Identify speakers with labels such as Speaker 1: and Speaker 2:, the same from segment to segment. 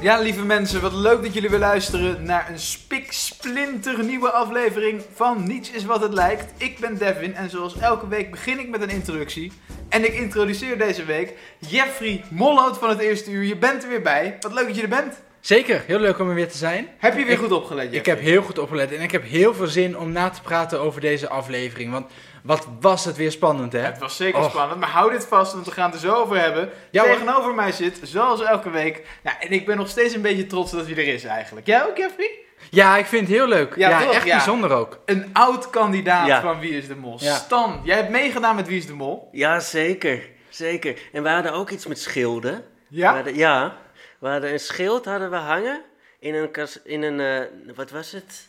Speaker 1: Ja, lieve mensen, wat leuk dat jullie weer luisteren naar een spiksplinter nieuwe aflevering van Niets is wat het lijkt. Ik ben Devin en zoals elke week begin ik met een introductie. En ik introduceer deze week Jeffrey Molloot van het eerste uur. Je bent er weer bij. Wat leuk dat je er bent.
Speaker 2: Zeker, heel leuk om er weer te zijn.
Speaker 1: Heb je weer
Speaker 2: Ik-
Speaker 1: goed opgelet, Jeffrey?
Speaker 2: Ik heb heel goed opgelet en ik heb heel veel zin om na te praten over deze aflevering. Want wat was het weer spannend, hè?
Speaker 1: Het was zeker
Speaker 2: Och.
Speaker 1: spannend, maar hou dit vast, want we gaan het er zo over hebben.
Speaker 2: Oh. Ja, hoor.
Speaker 1: Tegenover mij zit, zoals elke week, nou, en ik ben nog steeds een beetje trots dat hij er is eigenlijk. Jij ook, Jeffrey?
Speaker 2: Ja, ik vind het heel leuk.
Speaker 1: Ja,
Speaker 2: Ja,
Speaker 1: toch?
Speaker 2: echt
Speaker 1: Ja.
Speaker 2: bijzonder ook.
Speaker 1: Een oud kandidaat
Speaker 3: Ja.
Speaker 1: van Wie is de Mol.
Speaker 2: Ja.
Speaker 1: Stan, jij hebt meegedaan met Wie is de Mol.
Speaker 3: Ja, zeker. Zeker. En we hadden ook iets met schilden.
Speaker 1: Ja?
Speaker 3: We hadden, ja. We hadden een schild hadden we hangen in een... Kas, in een eh, wat was het?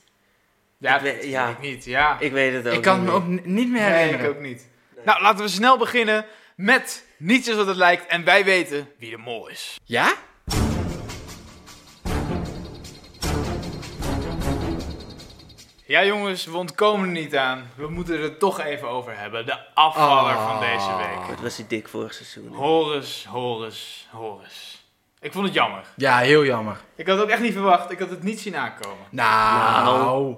Speaker 1: Ja,
Speaker 3: Ik weet-
Speaker 1: dat
Speaker 3: ja.
Speaker 1: weet ik niet. Ja.
Speaker 3: Ik weet het ook
Speaker 2: Ik kan
Speaker 3: niet
Speaker 2: me
Speaker 3: meer.
Speaker 2: ook n- niet meer
Speaker 1: Nee,
Speaker 2: herinneren.
Speaker 1: ik ook niet. Nou, laten we snel beginnen met Niets is wat het lijkt en wij weten wie de mol is.
Speaker 2: Ja?
Speaker 1: Ja jongens, we ontkomen er niet aan. We moeten er toch even over hebben. De afvaller
Speaker 2: Ah.
Speaker 1: van deze week.
Speaker 3: Wat was die dik vorig seizoen? hè?
Speaker 1: Horus, Horus, Horus. Ik vond het jammer.
Speaker 2: Ja, heel jammer.
Speaker 1: Ik had het ook echt niet verwacht. Ik had het niet zien aankomen.
Speaker 2: Nou,
Speaker 3: Nou.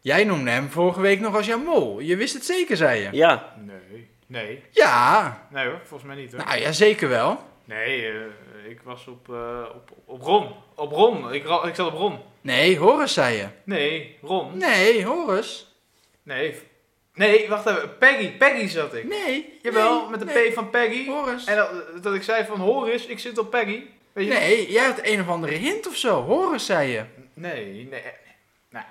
Speaker 2: jij noemde hem vorige week nog als jouw mol. Je wist het zeker, zei je.
Speaker 3: Ja.
Speaker 1: Nee. Nee.
Speaker 2: Ja,
Speaker 1: Nee hoor, volgens mij niet hoor.
Speaker 2: nou ja, zeker wel.
Speaker 1: Nee, eh, ik was op, eh, op, op Ron. Op Ron. Ik, ra- ik zat op Ron.
Speaker 2: Nee, Horus, zei je.
Speaker 1: Nee, Ron.
Speaker 2: Nee, Horus.
Speaker 1: Nee. Nee, wacht even. Peggy. Peggy zat ik.
Speaker 2: Nee.
Speaker 1: Jawel,
Speaker 2: nee,
Speaker 1: met de
Speaker 2: nee.
Speaker 1: P van Peggy.
Speaker 2: Horus.
Speaker 1: En dat, dat ik zei van, hoor eens, ik zit op Peggy. Weet je
Speaker 2: Nee, jij had een of andere hint of zo. Horus, zei je.
Speaker 1: Nee, nee. eh, Nou,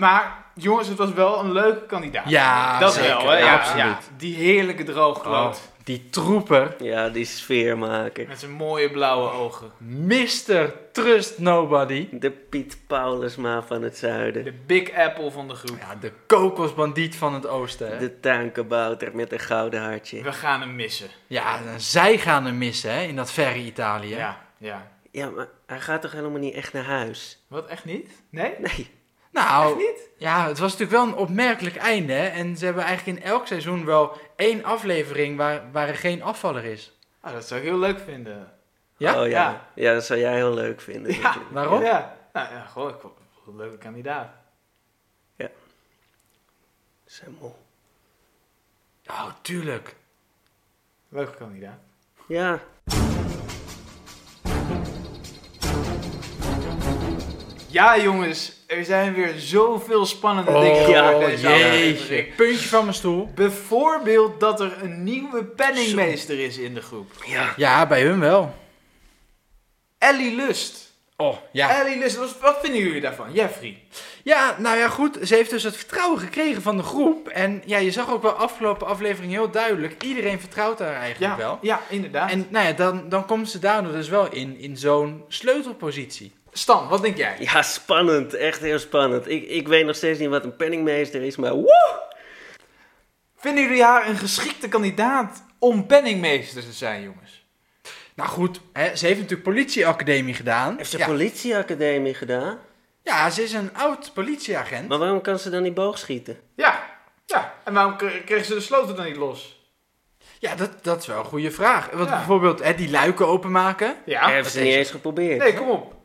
Speaker 1: maar jongens, het was wel een leuke kandidaat.
Speaker 2: Ja,
Speaker 1: dat
Speaker 2: zeker.
Speaker 1: wel, hè?
Speaker 2: Ja,
Speaker 1: Ja,
Speaker 2: absoluut. Oh.
Speaker 1: ja. Die heerlijke droogkloot.
Speaker 2: Die troeper,
Speaker 3: Ja, die sfeermaker.
Speaker 1: Met zijn mooie blauwe ogen.
Speaker 2: Mr. Trust Nobody.
Speaker 3: De Piet Paulusma van het zuiden.
Speaker 1: De Big Apple van de groep.
Speaker 2: Ja, de kokosbandiet van het oosten. hè.
Speaker 3: De tuinkabouter met een gouden hartje.
Speaker 1: We gaan hem missen.
Speaker 2: Ja, en zij gaan hem missen hè, in dat verre Italië.
Speaker 1: Ja. ja,
Speaker 3: Ja, maar hij gaat toch helemaal niet echt naar huis?
Speaker 1: Wat, echt niet? Nee?
Speaker 3: Nee.
Speaker 1: Echt
Speaker 2: Nou,
Speaker 1: niet?
Speaker 2: ja, het was natuurlijk wel een opmerkelijk einde. Hè? En ze hebben eigenlijk in elk seizoen wel één aflevering waar, waar er geen afvaller is.
Speaker 1: Oh, dat zou ik heel leuk vinden.
Speaker 2: Ja?
Speaker 3: Oh,
Speaker 1: Ja.
Speaker 3: ja. ja, dat zou jij heel leuk vinden.
Speaker 1: Ja.
Speaker 3: natuurlijk.
Speaker 2: Waarom?
Speaker 1: Ja. Nou ja, goh, ik vond het een leuke kandidaat.
Speaker 3: Zijn mol.
Speaker 2: Oh, tuurlijk.
Speaker 1: Leuke kandidaat.
Speaker 3: Ja.
Speaker 1: Ja, jongens, er zijn weer zoveel spannende dingen
Speaker 2: Oh,
Speaker 1: gebeurd
Speaker 3: ja,
Speaker 1: deze
Speaker 2: jeetje.
Speaker 1: aflevering.
Speaker 2: Puntje van mijn stoel.
Speaker 1: Bijvoorbeeld dat er een nieuwe penningmeester is in de groep.
Speaker 3: Ja.
Speaker 2: Ja, bij hun wel.
Speaker 1: Ellie Lust.
Speaker 2: Oh, ja.
Speaker 1: Ellie Lust, wat, wat vinden jullie daarvan, Jeffrey?
Speaker 2: Ja, nou ja, goed. Ze heeft dus het vertrouwen gekregen van de groep. En ja, je zag ook wel afgelopen aflevering heel duidelijk. Iedereen vertrouwt haar eigenlijk
Speaker 1: Ja,
Speaker 2: wel.
Speaker 1: ja inderdaad. En
Speaker 2: En nou ja, dan, dan komt ze daardoor dus wel in, in zo'n sleutelpositie.
Speaker 1: Stan, wat denk jij?
Speaker 3: Ja, spannend. Echt heel spannend. Ik, ik weet nog steeds niet wat een penningmeester is, maar woe!
Speaker 1: Vinden jullie haar een geschikte kandidaat om penningmeester te zijn, jongens?
Speaker 2: Nou goed, hè, ze heeft natuurlijk politieacademie gedaan.
Speaker 3: Heeft ze
Speaker 2: ja.
Speaker 3: politieacademie gedaan?
Speaker 2: ja, ze is een oud politieagent.
Speaker 3: Maar waarom kan ze dan niet boogschieten?
Speaker 1: Ja, ja. En waarom k- kreeg ze de sloten dan niet los?
Speaker 2: Ja, dat, dat is wel een goede vraag. Want
Speaker 1: Ja.
Speaker 2: bijvoorbeeld hè, die luiken openmaken.
Speaker 1: Ja,
Speaker 3: Heeft ze
Speaker 2: wat
Speaker 3: niet
Speaker 2: is
Speaker 3: eens geprobeerd?
Speaker 1: nee, kom op.
Speaker 2: Eh,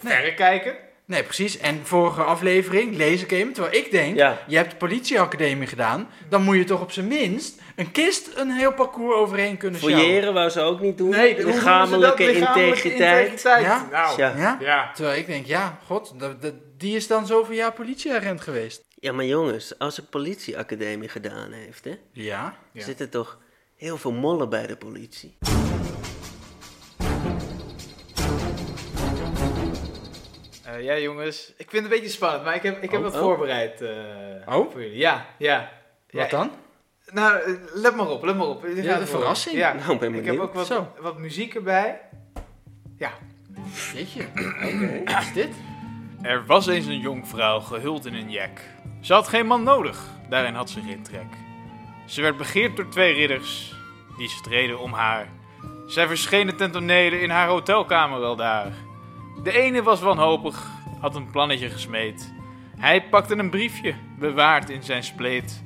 Speaker 2: Nee.
Speaker 1: Verre kijken.
Speaker 2: Nee, precies. En vorige aflevering lees ik hem. Terwijl ik denk,
Speaker 3: Ja.
Speaker 2: je hebt de politieacademie gedaan. Dan moet je toch op zijn minst een kist een heel parcours overheen kunnen sjouwen.
Speaker 3: Fouilleren wou ze ook niet doen.
Speaker 1: Nee, hoe doen ze dat?
Speaker 3: lichamelijke
Speaker 1: Lichamelijke
Speaker 3: integriteit.
Speaker 2: Ja?
Speaker 1: Nou,
Speaker 3: Tja.
Speaker 2: Ja?
Speaker 1: ja.
Speaker 2: Terwijl ik denk, ja, god, dat, dat- die is dan zoveel jaar politieagent geweest.
Speaker 3: Ja, maar jongens, als ze politieacademie gedaan heeft, hè,
Speaker 2: Ja.
Speaker 1: Ja.
Speaker 3: zitten toch heel veel mollen bij de politie.
Speaker 1: Eh, ja, jongens. Ik vind het een beetje spannend, maar ik heb, ik heb
Speaker 3: Oh,
Speaker 1: wat
Speaker 3: oh.
Speaker 1: voorbereid eh,
Speaker 2: Oh?
Speaker 1: voor jullie. Ja, ja. ja.
Speaker 2: Wat dan?
Speaker 1: Nou, eh, let maar op, let maar op. Dit gaat
Speaker 2: een
Speaker 1: wel.
Speaker 2: verrassing.
Speaker 1: Ja.
Speaker 3: Nou, ben
Speaker 1: Ik heb
Speaker 3: benieuwd.
Speaker 1: ook wat,
Speaker 2: Zo.
Speaker 1: wat muziek erbij. Ja.
Speaker 2: Jeetje. Wat is dit?
Speaker 1: Er was eens een jonkvrouw gehuld in een jak. Ze had geen man nodig, daarin had ze geen trek. Ze werd begeerd door twee ridders, die streden om haar. Zij verschenen ten tonele in haar hotelkamer wel daar. De ene was wanhopig, had een plannetje gesmeed. Hij pakte een briefje, bewaard in zijn spleet.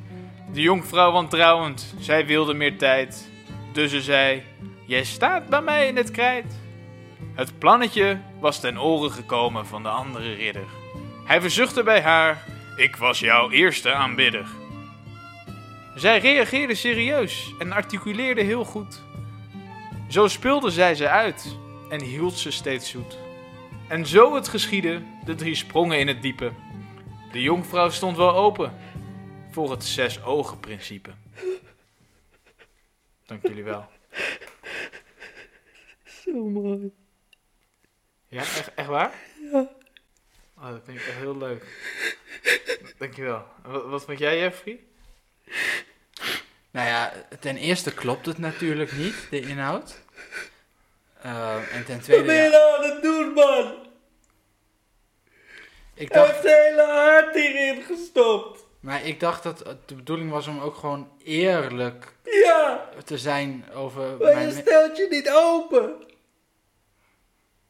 Speaker 1: De jonkvrouw wantrouwend, zij wilde meer tijd. Dus ze zei, jij staat bij mij in het krijt. Het plannetje was ten oren gekomen van de andere ridder. Hij verzuchtte bij haar: Ik was jouw eerste aanbidder. Zij reageerde serieus en articuleerde heel goed. Zo speelde zij ze uit en hield ze steeds zoet. En zo het geschiedde, de drie sprongen in het diepe. De jonkvrouw stond wel open voor het zes ogen principe. Dank jullie wel.
Speaker 3: Zo mooi.
Speaker 1: Ja, echt, echt waar? Ja. Oh, dat vind ik echt heel leuk. Dankjewel. En Wat, wat vond jij, Jeffrey?
Speaker 2: Nou ja, ten eerste klopt het natuurlijk niet, de inhoud. Eh, en ten
Speaker 3: Wat
Speaker 2: tweede,
Speaker 3: ben je
Speaker 2: ja,
Speaker 3: nou aan het doen, man?
Speaker 2: ik
Speaker 3: Hij
Speaker 2: dacht,
Speaker 3: heeft zijn hele hart hierin gestopt.
Speaker 2: maar ik dacht dat het de bedoeling was om ook gewoon eerlijk
Speaker 3: Ja,
Speaker 2: te zijn over
Speaker 3: maar je
Speaker 2: mijn...
Speaker 3: stelt je niet open.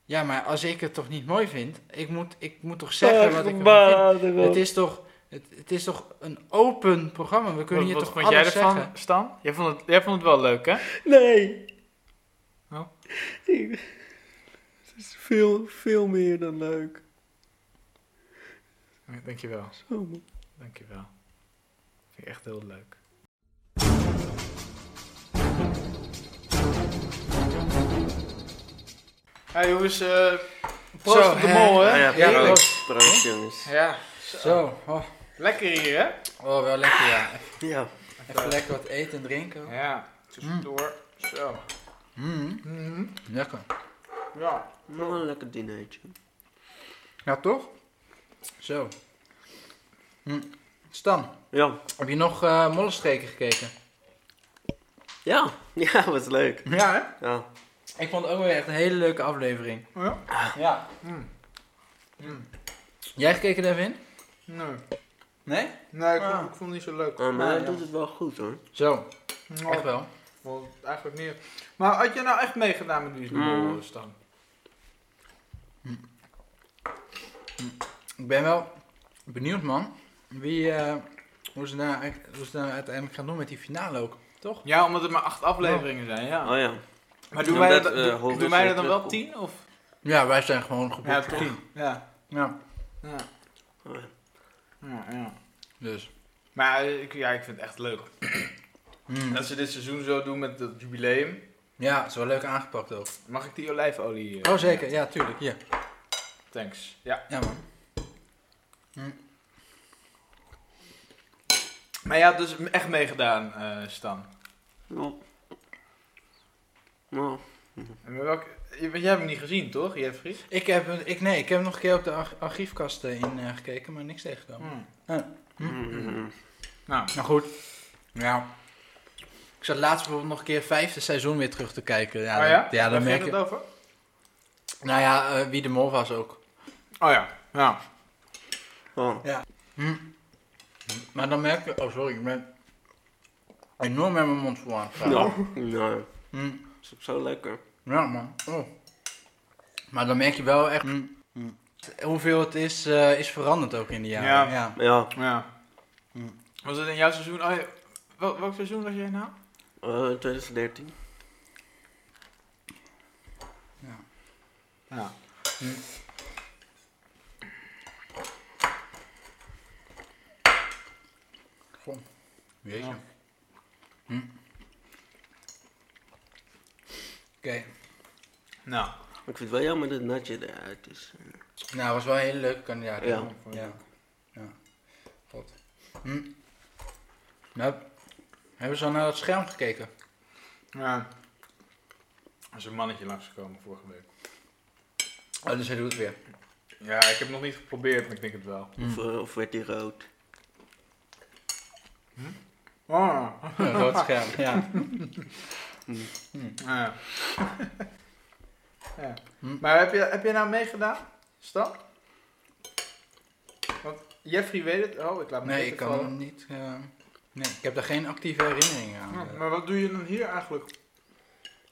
Speaker 2: Ja, maar als ik het toch niet mooi vind, ik moet, ik moet toch zeggen
Speaker 3: Zeg
Speaker 2: wat ik ervan vind.
Speaker 3: maar.
Speaker 2: Het is toch... Het, het is toch een open programma? We kunnen
Speaker 1: wat
Speaker 2: hier
Speaker 1: wat
Speaker 2: toch
Speaker 1: vond
Speaker 2: alles
Speaker 1: jij ervan,
Speaker 2: zeggen?
Speaker 1: Stan? Jij vond, het, jij vond het wel leuk, hè?
Speaker 3: Nee.
Speaker 1: Oh.
Speaker 3: Ik- Het is veel, veel meer dan leuk.
Speaker 1: Dankjewel.
Speaker 3: Zo mooi.
Speaker 1: Dankjewel. Vind ik echt heel leuk. Hey jongens, eh proost
Speaker 2: Zo,
Speaker 1: op de
Speaker 2: hè?
Speaker 1: mol, hè?
Speaker 3: Ah ja,
Speaker 2: Ja,
Speaker 3: proost. Proost, jongens.
Speaker 2: Ja, zo. Oh,
Speaker 1: Lekker hier, hè?
Speaker 2: oh, wel lekker ja. Even-
Speaker 3: Ja.
Speaker 2: Even lekker wat eten en drinken.
Speaker 1: Ja, tussendoor. Zo.
Speaker 2: Mm,
Speaker 1: Mhm.
Speaker 2: lekker.
Speaker 1: Ja.
Speaker 3: Nog een lekker dinertje.
Speaker 2: Ja, toch? Zo. Hm. Stan,
Speaker 3: Ja.
Speaker 2: heb je nog eh mollenstreken gekeken?
Speaker 3: Ja. Ja, was leuk.
Speaker 2: Ja, hè?
Speaker 3: Ja.
Speaker 2: Ik vond het ook weer echt een hele leuke aflevering. Ah.
Speaker 1: Ja?
Speaker 2: Ja.
Speaker 1: Mm. Mm.
Speaker 2: Jij gekeken, Devin?
Speaker 1: Nee.
Speaker 2: Nee?
Speaker 1: Nee, ik,
Speaker 2: Ah.
Speaker 1: vond, ik vond het niet zo leuk.
Speaker 3: Ah, maar
Speaker 2: Ah,
Speaker 3: hij
Speaker 2: ja.
Speaker 3: doet het wel goed, hoor.
Speaker 2: Zo,
Speaker 1: Nou,
Speaker 2: echt wel.
Speaker 1: ik vond het eigenlijk meer. Maar had je nou echt meegedaan met die
Speaker 3: Mm.
Speaker 1: mm. dan?
Speaker 2: Ik ben wel benieuwd, man. Wie, eh, hoe, ze nou, eigenlijk- hoe ze nou uiteindelijk gaan doen met die finale ook, toch?
Speaker 1: Ja, omdat het maar acht afleveringen zijn, ja.
Speaker 3: Oh ja.
Speaker 1: Maar doen
Speaker 3: Omdat,
Speaker 1: wij, dat,
Speaker 3: eh,
Speaker 1: doen-
Speaker 3: Horus
Speaker 1: doen wij dat dan
Speaker 3: weer
Speaker 1: wel
Speaker 3: terugkomt.
Speaker 1: tien? Of?
Speaker 2: Ja, wij zijn gewoon geboekt
Speaker 1: Ja,
Speaker 2: voor
Speaker 1: toch?
Speaker 2: tien.
Speaker 1: Ja.
Speaker 2: Ja,
Speaker 1: Ja.
Speaker 3: Oh, ja.
Speaker 1: Ja, ja.
Speaker 2: dus.
Speaker 1: Maar eh, ik, ja, ik vind het echt leuk.
Speaker 2: hm.
Speaker 1: Dat ze dit seizoen zo doen met het jubileum.
Speaker 2: Ja, het is wel leuk aangepakt ook.
Speaker 1: Mag ik die olijfolie? eh,
Speaker 2: Oh, zeker. Ja, tuurlijk. Hier.
Speaker 1: Thanks. Ja.
Speaker 2: Ja, man.
Speaker 1: Maar ja, dus echt meegedaan, eh, Stan.
Speaker 3: Ja. Nou,
Speaker 1: En met welke- je- want jij hebt hem niet gezien, toch, Jeffrey?
Speaker 2: Ik heb, ik, nee, ik heb nog een keer op de arch- archiefkasten in eh, gekeken, maar niks tegengekomen.
Speaker 1: Mm.
Speaker 3: mm,
Speaker 1: Nou,
Speaker 2: Nou goed. Ja. Ik zat laatst bijvoorbeeld nog een keer vijfde seizoen weer terug te kijken. Ja,
Speaker 1: oh
Speaker 2: dan-
Speaker 1: ja?
Speaker 2: ja
Speaker 1: Waar
Speaker 2: dan merk
Speaker 1: ging
Speaker 2: je.
Speaker 1: het over?
Speaker 2: Nou ja, eh, wie de mol was ook.
Speaker 1: Oh ja, ja.
Speaker 3: oh.
Speaker 2: Hm. Maar dan merk je... Oh, sorry. Ik ben enorm met mijn mond vol aan het praten.
Speaker 3: Nou, nou,
Speaker 2: Hm.
Speaker 3: is ook zo lekker.
Speaker 2: Ja, man. Oh. Maar dan merk je wel echt... hm, hm, Hoeveel het is, eh, is veranderd ook in de jaren.
Speaker 1: Ja.
Speaker 2: Ja.
Speaker 3: Ja,
Speaker 1: Ja.
Speaker 2: Hm.
Speaker 1: Was het in jouw seizoen? Oh, ja. Wel, welk seizoen was jij nou?
Speaker 3: eh, 2013.
Speaker 1: Ja.
Speaker 2: Goh. Jeetje.
Speaker 1: Ja.
Speaker 2: Hm. Oké.
Speaker 1: Nou.
Speaker 3: Maar ik vind het wel jammer dat Nadje eruit is.
Speaker 2: Nou, was wel een hele leuke kandidaat.
Speaker 3: Ja.
Speaker 2: Ja. ja. God. Hm. Nou, hebben ze al naar dat scherm gekeken?
Speaker 1: Ja. Er is een mannetje langsgekomen vorige week.
Speaker 2: Oh, dus hij doet het weer.
Speaker 1: Ja, ik heb het nog niet geprobeerd, maar ik denk het wel.
Speaker 2: Hm.
Speaker 3: Of, eh, of werd hij rood?
Speaker 1: Oh.
Speaker 2: Een rood scherm, ja.
Speaker 1: Ja. ja.
Speaker 2: Hm.
Speaker 1: Maar heb je, heb je nou meegedaan, Stan? Want Jeffrey weet het. Oh, ik laat me
Speaker 2: Nee, ik kan hem niet... eh, nee, ik heb daar geen actieve herinneringen aan. eh.
Speaker 1: maar wat doe je dan hier eigenlijk? Want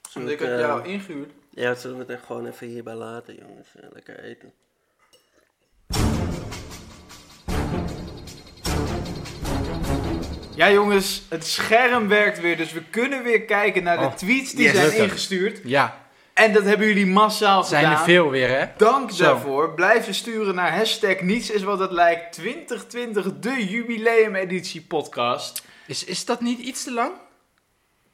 Speaker 3: Zullen
Speaker 1: ik
Speaker 3: we
Speaker 1: heb
Speaker 3: het,
Speaker 1: jou
Speaker 3: eh,
Speaker 1: ingehuurd.
Speaker 3: Ja, dat zullen we het echt gewoon even hierbij laten, jongens. Eh, lekker eten.
Speaker 1: Ja, jongens, het scherm werkt weer, dus we kunnen weer kijken naar de
Speaker 2: Oh,
Speaker 1: tweets die
Speaker 2: yes.
Speaker 1: zijn
Speaker 2: Gelukkig.
Speaker 1: ingestuurd.
Speaker 2: Ja.
Speaker 1: En dat hebben jullie massaal
Speaker 2: zijn er
Speaker 1: gedaan.
Speaker 2: veel weer, hè?
Speaker 1: Dank
Speaker 2: Zo.
Speaker 1: daarvoor. Blijven sturen naar hashtag niets is wat het lijkt 2020 de jubileumeditie podcast.
Speaker 2: Is, is dat niet iets te lang?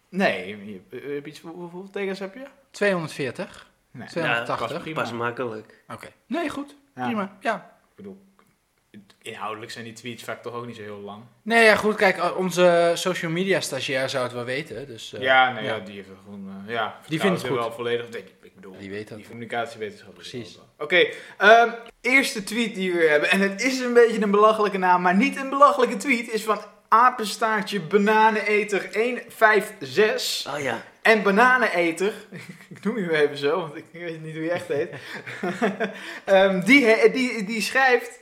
Speaker 1: Nee, je- eh, heb je iets, hoe- hoeveel tekens heb je?
Speaker 2: 240?
Speaker 1: Nee,
Speaker 3: Ja,
Speaker 2: 280?
Speaker 1: pas prima.
Speaker 3: Pas makkelijk.
Speaker 2: Oké. Nee, goed.
Speaker 1: Ja.
Speaker 2: Prima. Ja.
Speaker 1: Ik bedoel, inhoudelijk zijn die tweets vaak toch ook niet zo heel lang.
Speaker 2: Nee, ja, goed. Kijk, eh, onze social media stagiair zou het wel weten. Dus, eh,
Speaker 1: ja, nee, ja.
Speaker 2: ja.
Speaker 1: die heeft er gewoon, eh, ja,
Speaker 2: Die
Speaker 1: vertrouwd
Speaker 2: vindt het
Speaker 1: in wel
Speaker 2: goed.
Speaker 1: volledig. denk Ik, ik bedoel,
Speaker 2: Die weet dat.
Speaker 1: die communicatiewetenschap. is
Speaker 2: Precies.
Speaker 1: wel zo. Oké, ehm, eerste tweet die we weer hebben. En het is een beetje een belachelijke naam, maar niet een belachelijke tweet. Is van apenstaartje bananeneter 156.
Speaker 3: Oh ja.
Speaker 1: En bananeneter, ik noem je even zo, want ik weet niet hoe je echt heet. Ehm, die, he- die, die schrijft: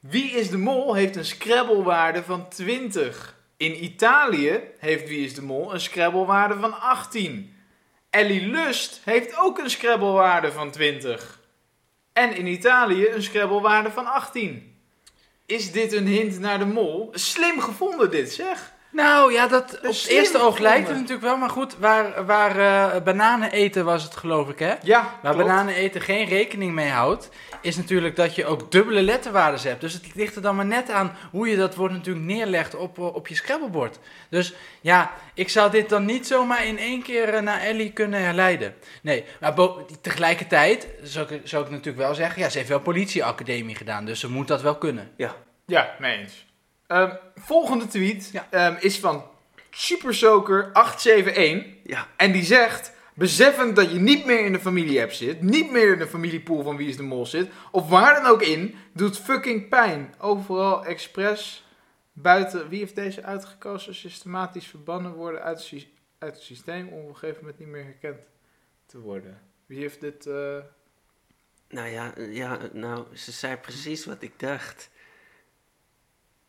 Speaker 1: Wie is de Mol heeft een Scrabblewaarde van 20. In Italië heeft Wie is de Mol een Scrabblewaarde van 18. Ellie Lust heeft ook een Scrabblewaarde van 20. En in Italië een Scrabblewaarde van 18. Is dit een hint naar de Mol? Slim gevonden, dit zeg.
Speaker 2: Nou ja, dat op het
Speaker 1: slim
Speaker 2: eerste oog
Speaker 1: gevonden.
Speaker 2: lijkt het natuurlijk wel. Maar goed, waar, waar eh, bananen eten was het geloof ik, hè?
Speaker 1: Ja,
Speaker 2: Waar
Speaker 1: klopt.
Speaker 2: bananen eten geen rekening mee houdt, is natuurlijk dat je ook dubbele letterwaardes hebt. Dus het ligt er dan maar net aan hoe je dat woord natuurlijk neerlegt op, eh, op je scrabblebord. Dus ja, ik zou dit dan niet zomaar in één keer eh, naar Ellie kunnen herleiden. Nee, maar bo- tegelijkertijd zou ik, zou ik natuurlijk wel zeggen, ja, ze heeft wel politieacademie gedaan, dus ze moet dat wel kunnen.
Speaker 1: Ja, mee eens. Ehm, volgende tweet
Speaker 2: Ja.
Speaker 1: ehm, is van Supersoker871.
Speaker 3: Ja.
Speaker 1: En die zegt... Beseffend dat je niet meer in de familie-app zit, niet meer in de familiepool van Wie is de Mol zit, of waar dan ook in, doet fucking pijn. Overal expres, buiten, wie heeft deze uitgekozen, systematisch verbannen worden uit, het sy- uit het systeem om op een gegeven moment niet meer herkend te worden. Wie heeft dit... eh,
Speaker 3: Nou ja, ja, nou, ze zei precies wat ik dacht.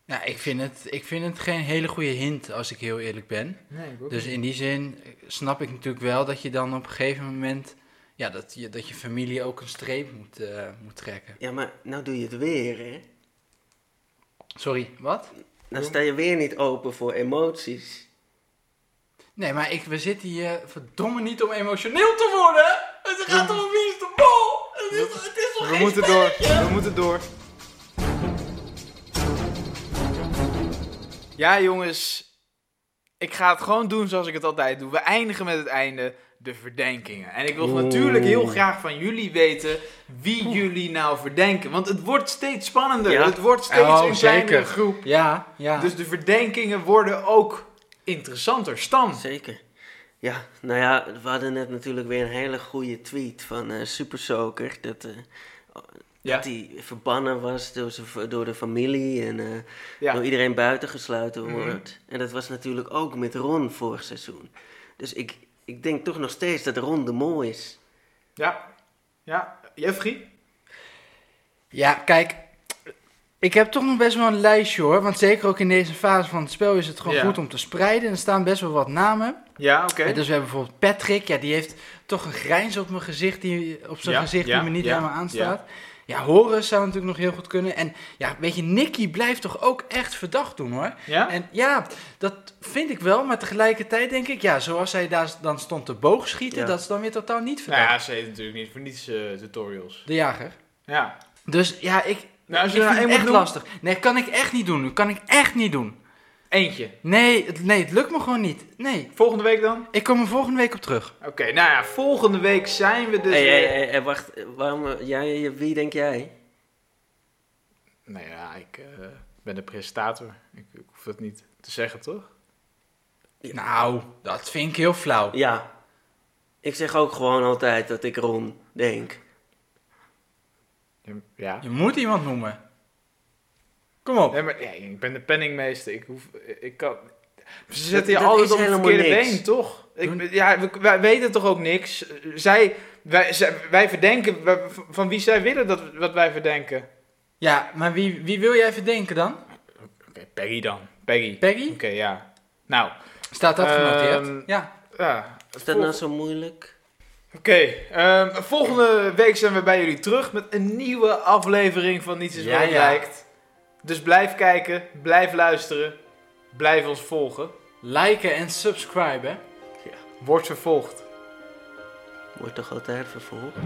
Speaker 2: Nou, ik vind het, ik vind het geen hele goede hint, als ik heel eerlijk ben.
Speaker 1: Nee, ik ook
Speaker 2: Dus
Speaker 1: niet.
Speaker 2: in die zin eh, snap ik natuurlijk wel dat je dan op een gegeven moment. Ja, dat je, dat je familie ook een streep moet, eh, moet trekken.
Speaker 3: Ja, maar nou doe je het weer, hè?
Speaker 2: Sorry, wat?
Speaker 3: Dan sta je weer niet open voor emoties.
Speaker 2: Nee, maar ik, we zitten hier verdomme niet om emotioneel te worden. Het gaat om wie is de bol. Het is, het is toch
Speaker 1: We
Speaker 2: geen
Speaker 1: moeten door, we moeten door. Ja, jongens. Ik ga het gewoon doen zoals ik het altijd doe. We eindigen met het einde, de verdenkingen. En ik wil
Speaker 3: Oeh.
Speaker 1: natuurlijk heel graag van jullie weten wie jullie nou verdenken. Want het wordt steeds spannender.
Speaker 3: Ja.
Speaker 1: Het wordt steeds
Speaker 2: Oh,
Speaker 1: een kleinere
Speaker 2: zeker.
Speaker 1: groep.
Speaker 2: Ja, ja.
Speaker 1: Dus de verdenkingen worden ook interessanter. Stan.
Speaker 3: Zeker. Ja, nou ja, we hadden net natuurlijk weer een hele goede tweet van eh Super Soaker. Dat, eh,
Speaker 1: Ja.
Speaker 3: dat hij verbannen was door, zijn- door de familie en eh, door
Speaker 1: Ja.
Speaker 3: iedereen buitengesloten
Speaker 1: Mhm.
Speaker 3: wordt. En dat was natuurlijk ook met Ron vorig seizoen. Dus ik, ik denk toch nog steeds dat Ron de Mol is.
Speaker 1: Ja. Ja. Jeffrey?
Speaker 2: Ja, kijk. Ik heb toch nog best wel een lijstje hoor. Want zeker ook in deze fase van het spel is het gewoon
Speaker 1: Ja.
Speaker 2: goed om te spreiden. Er staan best wel wat namen.
Speaker 1: Ja, oké.
Speaker 2: Ja, Dus we hebben bijvoorbeeld Patrick, ja, die heeft toch een grijns op, mijn gezicht die, op zijn
Speaker 1: Ja,
Speaker 2: gezicht
Speaker 1: ja,
Speaker 2: die me niet
Speaker 1: ja,
Speaker 2: helemaal aanstaat. Ja. Horus zou natuurlijk nog heel goed kunnen. En ja, weet je, Nicky blijft toch ook echt verdacht doen hoor.
Speaker 1: Ja?
Speaker 2: En ja, dat vind ik wel, maar tegelijkertijd denk ik, ja, zoals zij daar dan stond te boogschieten,
Speaker 3: Ja.
Speaker 2: dat is dan weer totaal niet
Speaker 1: Nou
Speaker 2: verdacht.
Speaker 1: ja, ze heet natuurlijk niet voor niets eh, tutorials.
Speaker 2: De jager.
Speaker 1: Ja.
Speaker 2: Dus ja, ik,
Speaker 1: Nou, als
Speaker 2: ik
Speaker 1: je er nou één
Speaker 2: vind het
Speaker 1: moet
Speaker 2: echt
Speaker 1: noemen-
Speaker 2: lastig. Nee, kan ik echt niet doen. Kan ik echt niet doen.
Speaker 1: Eentje.
Speaker 2: Nee, het, nee, het lukt me gewoon niet. Nee,
Speaker 1: Volgende week dan?
Speaker 2: ik kom er volgende week op terug.
Speaker 1: Oké, nou ja, volgende week zijn we dus.
Speaker 3: Hé, hé,
Speaker 1: weer-
Speaker 3: hé, hé, wacht. eh, Waarom, eh, jij, eh, wie denk jij?
Speaker 1: Nou ja, ik eh, ben de presentator. Ik, ik hoef dat niet te zeggen, toch?
Speaker 3: Ja.
Speaker 2: Nou, dat vind ik heel flauw.
Speaker 3: Ja. Ik zeg ook gewoon altijd dat ik Ron denk.
Speaker 1: Ja. ja.
Speaker 2: Je moet iemand noemen. Kom
Speaker 3: Oh.
Speaker 2: op.
Speaker 1: Nee, maar ja, ik ben de penningmeester. Ik hoef. Ik kan. Ze zetten
Speaker 3: Dat-
Speaker 1: je
Speaker 3: dat
Speaker 1: altijd
Speaker 3: is
Speaker 1: op het
Speaker 3: helemaal
Speaker 1: verkeerde
Speaker 3: niks.
Speaker 1: been, toch? Ik,
Speaker 2: Doen-
Speaker 1: ben- ja, we, wij weten toch ook niks. Zij, wij, zij, wij verdenken wa- van wie zij willen dat wat wij verdenken.
Speaker 2: Ja, maar wie, wie wil jij verdenken dan?
Speaker 1: Oké, Peggy dan. Peggy. Oké,
Speaker 2: Peggy?
Speaker 1: ja. Nou,
Speaker 2: Staat dat genoteerd?
Speaker 1: Ehm,
Speaker 2: ja.
Speaker 1: ja.
Speaker 3: Is dat nou zo moeilijk?
Speaker 1: Oké, ehm, volgende week zijn we bij jullie terug met een nieuwe aflevering van Niets is
Speaker 2: Ja,
Speaker 1: wat het
Speaker 2: ja.
Speaker 1: lijkt. Dus blijf kijken, blijf luisteren, blijf ons volgen.
Speaker 2: Liken en subscriben.
Speaker 1: Word vervolgd.
Speaker 3: wordt toch altijd vervolgd?